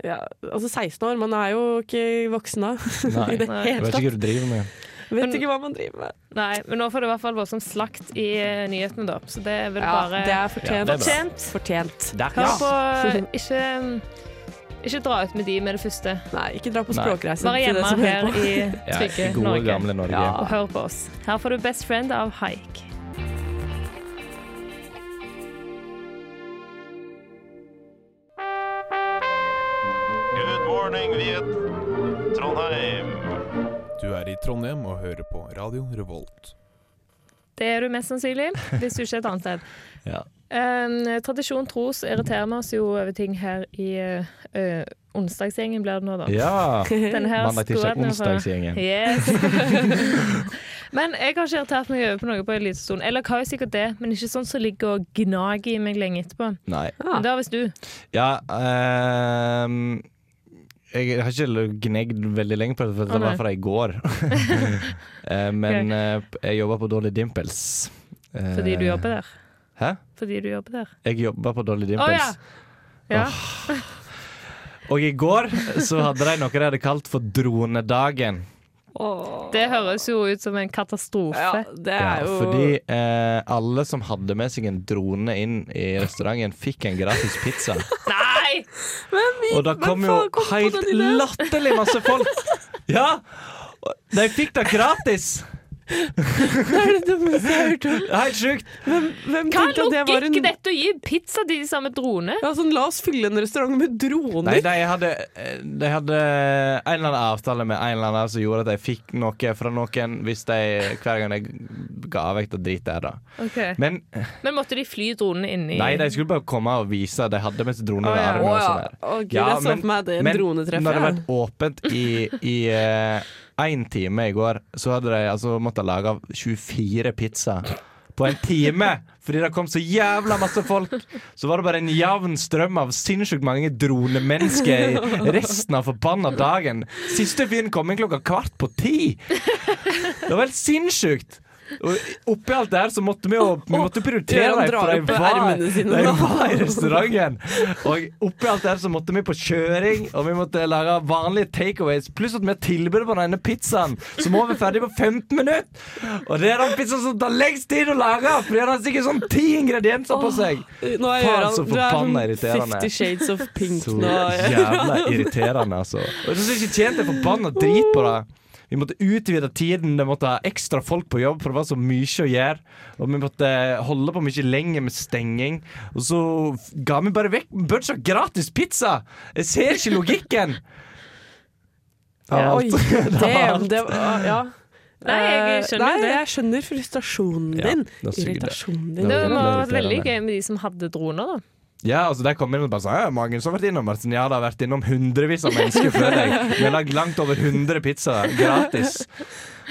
S6: ja, altså 16 år, man er jo ikke voksen da. [laughs]
S5: Nei.
S6: I det
S2: Nei.
S5: Jeg
S6: hele
S5: vet ikke
S6: tatt.
S5: hva du driver med.
S6: Vet ikke hva man driver med.
S2: Nei, men nå får det i hvert fall voldsom slakt i eh, nyhetene, da. Så det er vel
S6: Ja,
S2: bare
S6: det er fortjent.
S5: det er bra.
S2: fortjent.
S6: fortjent.
S2: Hør på eh, ikke, ikke dra ut med de med det første.
S6: Nei, ikke dra på
S5: Nei.
S6: språkreise.
S2: Bare
S6: til dere
S2: hjemme
S6: som hører
S2: her
S6: på.
S2: i
S5: [laughs] Ja,
S2: trygge
S5: gode,
S2: Norge.
S5: gamle Norge.
S6: Ja.
S2: Og hør på oss. Her får du Best Friend av Haik.
S10: Good morning, Viet. Trondheim.
S8: Du er i Trondheim og hører på Radio Revolt.
S2: Det er du mest sannsynlig, hvis du ikke er et annet sted.
S5: [laughs] Ja.
S2: Eh, tradisjon tro så irriterer vi oss jo over ting her i eh, onsdagsgjengen, blir det nå, da.
S5: Ja.
S2: Denne her
S5: Mandag, tirsdag,
S2: skrudde jeg fra-
S5: onsdagsgjengen. [laughs]
S2: Yes. men jeg har ikke irritert meg over på noe på en liten stund. Eller jeg har jo sikkert det, men ikke sånn som ligger og gnager i meg lenge etterpå.
S5: Nei.
S2: Men det har visst du.
S5: Ja ehm, Jeg har ikke gnegd veldig lenge på det, for
S2: Å,
S5: det
S2: nei.
S5: var fra i
S2: [laughs]
S5: går. Eh, Men eh, jeg jobber på Dolly Dimples. Eh,
S2: Fordi du jobber der.
S5: Hæ?
S2: Fordi du jobber der.
S5: Eh, Jeg jobber på Dolly
S2: Å
S5: Dimples.
S2: ja. ja.
S5: Og i går så hadde de noe de hadde kalt for dronedagen.
S2: Det høres jo ut som en katastrofe.
S6: Ja, det er jo
S5: Fordi eh, alle som hadde med seg en drone inn i restauranten, fikk en gratis
S6: [laughs]
S5: pizza.
S2: [laughs] Nei!
S5: Og da
S6: Hvem
S5: kom jo
S6: faen kom på
S5: helt
S6: den ideen?
S5: latterlig masse
S6: [laughs]
S5: folk. Ja! og De fikk det gratis!
S6: Det er det dummeste jeg har hørt om.
S5: Helt sjukt.
S6: Hvem
S2: Hva
S6: tenkte at det
S2: logikk
S6: var en
S2: er dette å gi pizza til de samme dronene?
S6: ja, sånn, La oss fylle en restaurant med droner.
S5: Nei, de hadde, eh, de hadde en eller annen avtale med en eller annen som gjorde at de fikk noe fra noen hvis de, hver gang de ga vekk det dritet her, da.
S2: Ok.
S5: Men eh,
S2: Men måtte de fly dronene inn i
S5: nei, de skulle bare komme og vise. De hadde med seg droner
S2: Å,
S5: i
S2: ja.
S5: armen.
S6: Eh. Å,
S5: og
S6: ja.
S5: sånn her.
S6: Å, Gud, jeg så for meg det
S5: men
S6: dronetreffet,
S5: Når det
S6: ja.
S5: har vært åpent i, i én time i går, så hadde de altså måttet lage 24 pizzaer på en time. Fordi det kom så jævla masse folk. Så var det bare en jevn strøm av sinnssykt mange dronemennesker i resten av forbanna dagen. Siste fyren kom inn klokka kvart på ti. Det var helt sinnssykt. Og oppi alt det her så måtte vi jo Vi måtte prioritere
S6: Gjør han
S5: dem, for de
S6: drar opp
S5: var,
S6: ermene sine
S5: de
S6: nå.
S5: var i restauranten. Og oppi alt det her så måtte vi på kjøring, og vi måtte lage vanlige takeaways. Pluss at vi har tilbud på denne pizzaen, som må være ferdig på 15 minutter. Og det er den pizzaen som tar lengst tid å lage, for den har sikkert sånn ti ingredienser på seg.
S6: Nå er
S5: Faen, så
S6: Gøran Du er sånn
S5: forbanna irriterende.
S6: Fifty Shades of Pink
S5: Så
S6: nå.
S5: jævla irriterende, altså. Og så ikke tjente jeg forbanna drit på det. Vi måtte utvide tiden, det måtte ha ekstra folk på jobb, for det var så mye å gjøre. Og vi måtte eh, holde på mye lenger med stenging. Og så ga vi bare vekk en bunch av gratis pizza! Jeg ser ikke logikken! Det var
S6: Oi,
S5: alt. [laughs]
S6: det, det, ja.
S2: Eh,
S6: Eh,
S2: Nei, jeg skjønner
S6: Nei,
S2: jo det.
S6: jeg skjønner frustrasjonen
S5: Ja,
S6: din.
S5: det er sikkert det.
S6: Irritasjonen
S5: Det
S6: din.
S2: Det
S5: var
S2: må ha
S5: veldig
S2: vært veldig
S5: irriterende.
S2: gøy med de som hadde droner, da.
S5: Ja, altså Der kom inn og bare sa «Ja, mange som har vært innom. Martin. Ja, det har vært innom hundrevis av mennesker før deg. Vi har lagd langt over 100 pizzaer gratis.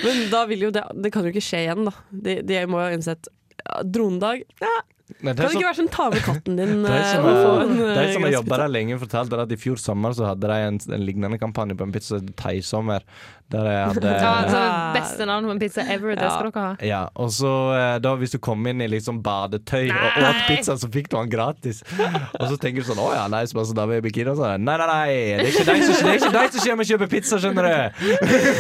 S6: Men da vil jo det Det kan jo ikke skje igjen, da. De, de må jo innsett ja, Dronedag ja,
S5: Men det er
S6: Kan det
S5: så-
S6: ikke være sånn ta med katten
S5: [laughs]
S6: din
S5: De
S6: eh,
S5: som,
S6: og få en
S5: de
S6: eh,
S5: som har
S6: gratis
S5: jobba der lenge, fortalte at i fjor sommer så hadde de en, en lignende kampanje på en pizza som het Thaisommer. Der de hadde
S2: [laughs] Ja, altså, beste navn på en pizza ever, det skal dere ha.
S5: Ja, og så eh, da Hvis du kom inn i liksom badetøy og
S2: Nei.
S5: åt pizza, så fikk du den gratis. Og så tenker du sånn Å ja, nei, så bare så da vil jeg bikini. Og så er det, nei, nei, nei. Det er ikke deg som, det er ikke deg som kommer og kjøper pizza, skjønner du.
S6: pizza.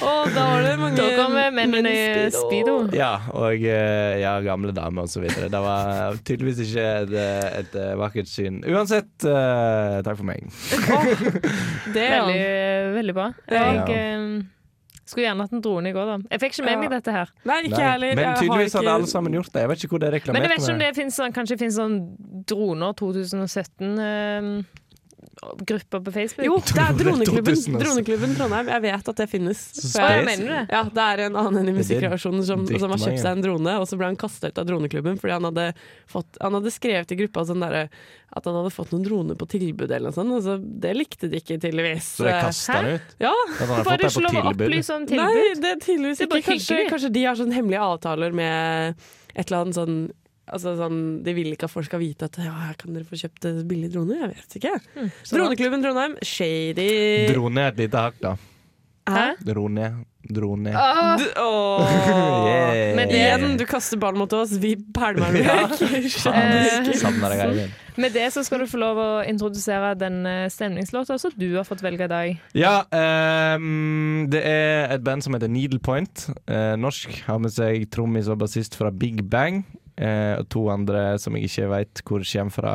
S6: Å, da var det mange
S2: Da kommer mennene i
S6: menn i
S2: eh, speedo.
S5: Ja, og eh, ja, gamle damer og så videre. Det var tydeligvis ikke et, eh, et eh, vakkert syn. Uansett, eh, takk for meg.
S6: Det, ja.
S2: Veldig, eh, veldig bra.
S5: Ja.
S2: Jeg eh, skulle gjerne hatt en drone i går, da. Jeg fikk ikke med
S6: Ja.
S2: meg dette her.
S6: Nei, ikke jeg
S5: Men
S6: heller. Jeg har
S5: tydeligvis hadde
S6: ikke-
S5: alle sammen gjort det. Jeg vet ikke hvor det er reklamert.
S2: Men jeg vet ikke om
S5: med.
S2: det finnes sånn, kanskje det finnes sånn droner 2017-grupper ehm, på Facebook?
S6: [laughs] Jo,
S5: [laughs]
S6: det er Droneklubben,
S5: 2000, altså.
S6: Droneklubben Trondheim. Jeg vet at det finnes. For
S2: Å, jeg
S6: jeg-
S2: mener det.
S6: Ja, Det er en annen enn i musikkreaksjonen som,
S5: drittmange.
S6: som har kjøpt seg en drone, og så ble han kastet ut av droneklubben fordi han hadde, fått, han hadde skrevet i gruppa sånn derre at han hadde fått noen droner på tilbud eller noe sånt, og så det likte de ikke tydeligvis.
S5: Så det kasta den ut?
S6: Ja.
S5: At han har
S2: Får
S5: fått
S2: du
S5: det
S2: ikke
S5: på
S2: lov å
S5: tilbud?
S2: opplyse om tilbud?
S6: Nei, det er
S2: Det er
S6: tydeligvis
S2: bare
S6: ikke. Kanskje,
S2: hyggelig.
S6: kanskje de har sånne hemmelige avtaler med et eller annet sånn Altså sånn, De vil ikke at folk skal vite at ja, her kan dere få kjøpt eh, billige droner. Jeg vet ikke.
S2: Sånn
S6: Droneklubben Trondheim, shady.
S5: Drone er et lite hakk, da.
S2: Hæ?
S5: Drone. Drone.
S2: Åh,
S6: D- Åh.
S5: [laughs] Yeah.
S2: Men
S6: Igjen, du kaster ballen mot oss, vi pælmer den vekk.
S2: Eh,
S5: Savner deg, Eivind.
S2: med det så skal du få lov å introdusere den eh, stemningslåta som du har fått velge i dag.
S5: Ja, ehm, det er et band som heter Needle Point. Eh, norsk. Har med seg trommis og bassist fra Big Bang. eh, og to andre som jeg ikke veit hvor kommer fra.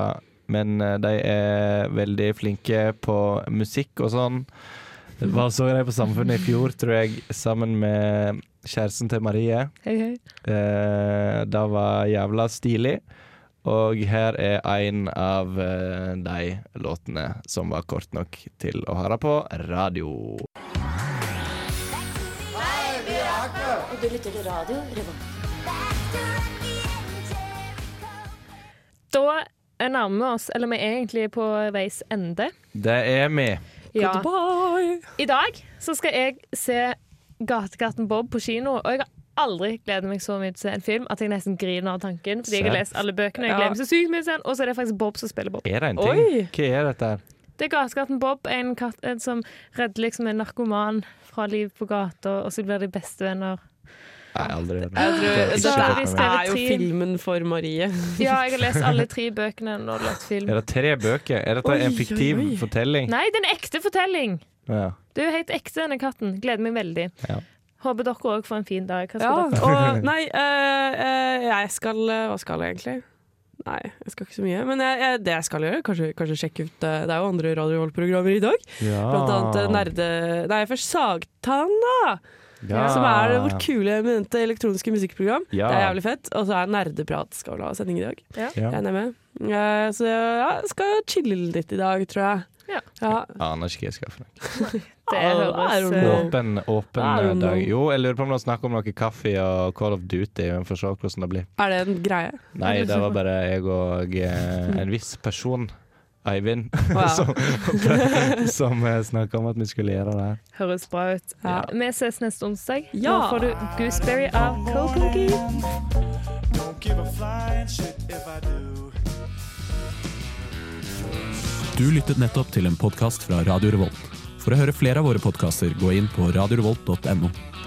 S5: Men eh, de er veldig flinke på musikk og sånn. Hva så de på Samfunnet i fjor, tror jeg, sammen med kjæresten til Marie.
S2: Hei, hei.
S5: Eh, det var jævla stilig. Og her er en av eh, de låtene som var kort nok til å høre på radio.
S2: Da eh, nærmer vi oss, eller vi er egentlig på veis ende.
S5: Det er vi.
S2: Ja.
S6: Bye.
S2: I dag så skal jeg se Gatekatten Bob på kino, og jeg har aldri gledet meg så mye til å se en film at jeg nesten griner av tanken. Fordi jeg har
S5: Sant.
S2: lest alle bøkene, og jeg
S6: Ja.
S2: gleder meg så sykt mye til den, og så er det faktisk Bob som spiller Bob.
S5: Er det en ting?
S6: Oi.
S5: Hva er dette her?
S2: Det er Gatekatten Bob, en katt en som redder liksom en narkoman fra liv på gata, og så blir de bestevenner.
S5: Nei, aldri hørt
S6: Jeg
S5: om.
S6: tror,
S5: Det har
S6: dette
S5: jeg ikke
S2: det
S5: fått med meg.
S2: skrevet
S6: er jo
S2: tre.
S6: filmen for Marie.
S2: Ja, jeg har lest alle tre bøkene og lagt film.
S5: Er det tre bøker? Er dette
S6: Oi,
S5: en fiktiv
S6: oi, oi.
S5: fortelling?
S2: Nei, det er en ekte fortelling!
S5: Ja.
S2: Det er jo helt ekte, denne katten. Gleder meg veldig.
S5: Ja.
S2: Håper dere òg får en fin dag. Hva skal
S6: Ja,
S2: dere?
S6: og [laughs] nei, eh, eh, jeg skal eh, Hva skal jeg egentlig? Nei, jeg skal ikke så mye. Men jeg, jeg, det jeg skal gjøre, kanskje, kanskje sjekke ut eh, Det er jo andre Radio Revolt-programmer i dag.
S5: Ja.
S6: Blant annet
S5: Ah.
S6: eh, Nerde... Nei, først Sagtanna!
S5: Ja.
S6: Som er vårt kule, eminente elektroniske musikkprogram.
S5: Ja.
S6: Det er jævlig fett. Og så er Nerdeprat skal vel ha sending i dag.
S5: Ja.
S6: Jeg er med. Eh, så ja, jeg skal chille litt i dag, tror jeg.
S2: Ja.
S5: Aner ikke hva jeg skal for noe.
S2: Det
S6: Ah,
S2: høres
S6: er det
S2: eh,
S6: noe?
S5: Åpen, åpen
S6: I don't
S5: eh, dag.
S6: know.
S5: Jo, jeg lurer på om det er snakk om noe kaffe og Call of Duty. Vi får se hvordan det blir.
S6: Er det en greie?
S5: [laughs] Nei, det var bare jeg og eh, en viss person, Eivind, [laughs]
S6: Wow.
S5: som, som eh, snakka om at vi skulle gjøre det her.
S2: Høres bra ut.
S6: Ja.
S2: Vi ses neste onsdag.
S6: Ja.
S2: Nå får du Gooseberry av Coco Gee.
S7: Don't give a flying shit if I do.
S11: Du lyttet nettopp til en podkast fra Radio Revolt. For å høre flere av våre podkaster, gå inn på radiorevolt.no.